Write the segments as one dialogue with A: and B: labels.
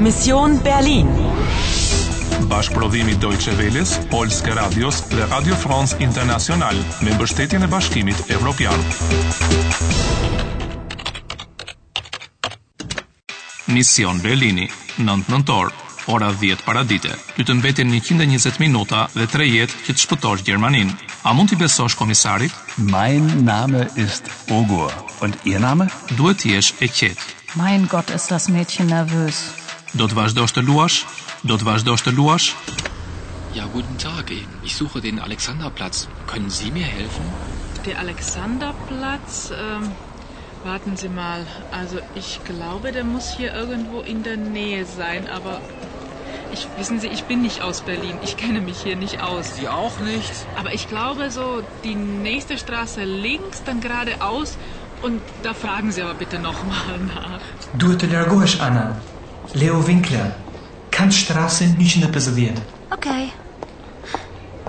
A: Mission Berlin.
B: Bashkëprodhimi Deutsche Welles, Polske Radios dhe Radio France International me mbështetjen e Bashkimit Evropian. Mision Berlini, 9 nëntor, ora 10 paradite. Ty të mbetin 120 minuta dhe 3 jetë që të shpëtosh Gjermaninë. A mund t'i besosh komisarit?
C: Mein Name ist Ogur. Und Ihr Name?
B: Duhet të jesh e qetë.
D: Mein Gott, ist das Mädchen nervös.
B: Do të vazhdosh të luash? Do të vazhdosh të luash?
E: Ja, guten Tag. Ich suche den Alexanderplatz. Können Sie mir helfen?
F: Der Alexanderplatz, ähm, warten Sie mal. Also ich glaube, der muss hier irgendwo in der Nähe sein, aber ich wissen Sie, ich bin nicht aus Berlin. Ich kenne mich hier nicht aus.
E: Sie auch nicht?
F: Aber ich glaube so, die nächste Straße links, dann geradeaus und da fragen Sie aber bitte nochmal nach.
G: Duhet të largohesh, Ana. Leo Winkler, Kantstraße 150.
H: Okay.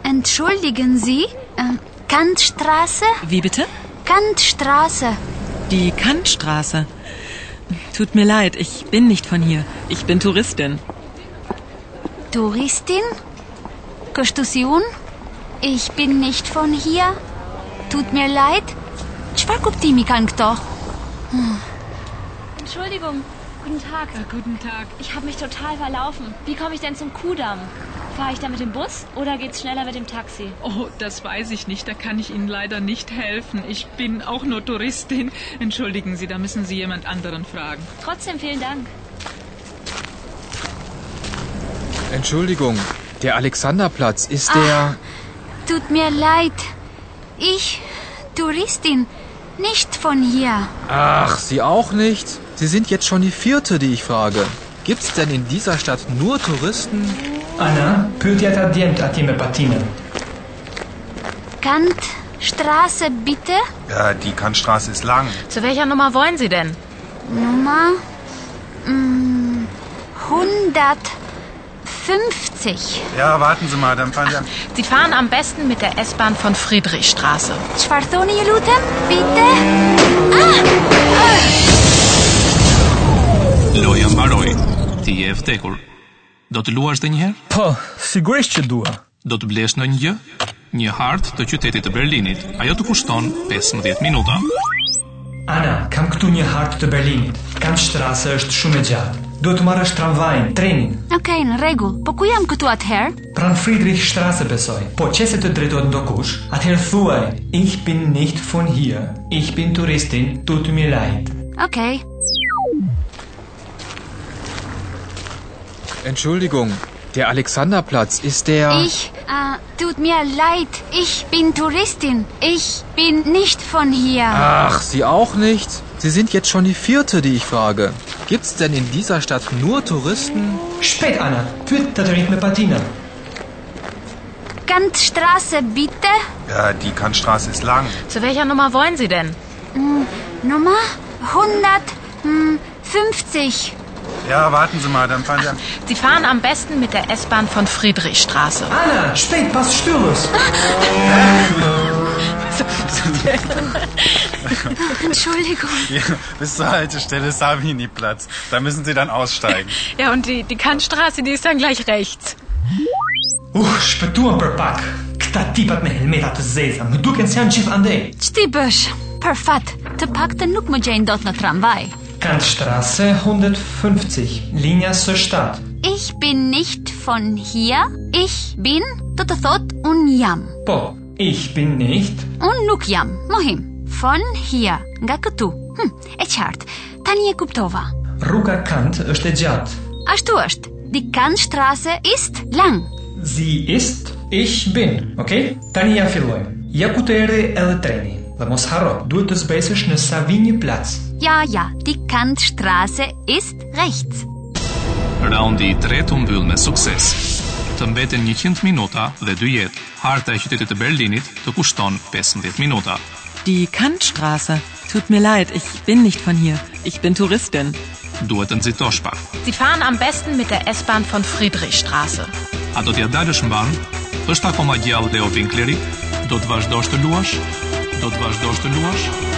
H: Entschuldigen Sie, ähm, Kantstraße?
A: Wie bitte?
H: Kantstraße.
A: Die Kantstraße. Tut mir leid, ich bin nicht von hier. Ich bin Touristin.
H: Touristin? Kështu si unë? Ich bin nicht von hier. Tut mir leid. Çfarë kuptimi kanë këto?
I: Entschuldigung, guten Tag.
F: Äh, guten Tag.
I: Ich habe mich total verlaufen. Wie komme ich denn zum Kudamm? Fahre ich da mit dem Bus oder geht's schneller mit dem Taxi?
F: Oh, das weiß ich nicht. Da kann ich Ihnen leider nicht helfen. Ich bin auch nur Touristin. Entschuldigen Sie, da müssen Sie jemand anderen fragen.
I: Trotzdem vielen Dank.
E: Entschuldigung, der Alexanderplatz ist der...
H: Tut mir leid. Ich Touristin, nicht von hier.
E: Ach, Sie auch nicht? Sie sind jetzt schon die vierte, die ich frage. Gibt's denn in dieser Stadt nur Touristen?
G: Ana, pyetja ta djemt atje me patinën.
H: Kantstraße bitte?
J: Ja, die Kantstraße ist lang.
K: Zu welcher Nummer wollen Sie denn?
H: Nummer mm, 150.
J: Ja, Ah, warten Sie mal, dann fahren wir.
K: Sie fahren am besten mit der S-Bahn von Friedrichstraße.
H: Çfarë thoni ju lutem? Bitte?
B: Loja mbaroi. Ti je e vdekur. Do të luash edhe një herë?
C: Po, sigurisht që dua.
B: Do të blesh ndonjë gjë? Një hartë të qytetit të Berlinit. Ajo të kushton 15 minuta.
G: Ana, kam këtu një hartë të Berlinit. Kantstraße është shumë e gjatë. Duhet të marrësh tramvajin, trenin.
H: Okej, në rregull. Po ku jam këtu atëherë?
G: Pran Friedrichstraße besoj. Po qëse të drejtohet ndokush, atëherë thuaj, ich bin nicht von hier. Ich bin Touristin, tut mir leid.
H: Okej.
E: Entschuldigung, der Alexanderplatz ist der...
H: Ich äh, tut mir leid. Ich bin Touristin. Ich bin nicht von hier.
J: Ah.
E: Ach, Sie auch nicht? Sie sind jetzt schon die vierte, die ich frage. Gibt's denn in dieser Stadt nur Touristen?
G: Shpejt, Ana, pyet të drejt me patinën.
H: Kantstraße bitte?
J: Ja, die Kantstraße ist lang.
K: Zu welcher Nummer wollen Sie denn?
H: Hm, Nummer 150.
J: Ja, warten Sie mal, dann fahren wir.
K: Sie fahren am besten mit der S-Bahn von Friedrichstraße.
G: Ana, shpejt pas shtyllës.
H: Entschuldigung.
J: Hier, bis zur Haltestelle Savini-Platz. Da müssen Sie dann aussteigen.
K: Ja, und die, die Kantstraße, die ist dann gleich rechts.
G: Uh, shpëtuam për pak. Këta tipat me helmeta të zeza, më duken se janë gjithë andej.
H: Që ti bësh? Për fat, të paktën nuk më gjejnë dot në tramvaj.
G: Kantstraße 150, linja së 7.
H: Ich bin nicht von hier. Ich bin, do të thot, un jam.
G: Po, ich bin nicht.
H: Un nuk jam, mohim. Von here, nga këtu. Hm, e qartë. Tani e kuptova.
G: Rruga Kant është e gjatë.
H: Ashtu është. Die Kantstraße ist lang.
G: Sie ist, ich bin, okay? Tani ja fillojmë. Ja ku të erdhi edhe treni. Dhe mos harro, duhet të zbresësh në Savinjë Plac.
H: Ja, ja, die Kantstraße ist rechts.
B: Raundi i tretë u mbyll me sukses. Të mbeten 100 minuta dhe 2 jetë. Harta e qytetit të Berlinit të kushton 15 minuta.
A: Die Kantstraße. Tut mir leid, ich bin nicht von hier. Ich bin Touristin.
B: Duhet të nxitosh pak.
K: Sie fahren am besten mit der S-Bahn von Friedrichstraße.
B: A do t'ja dalësh mban? Është akoma gjallë Leo Winkleri? Do të vazhdosh të luash? Do të vazhdosh të luash?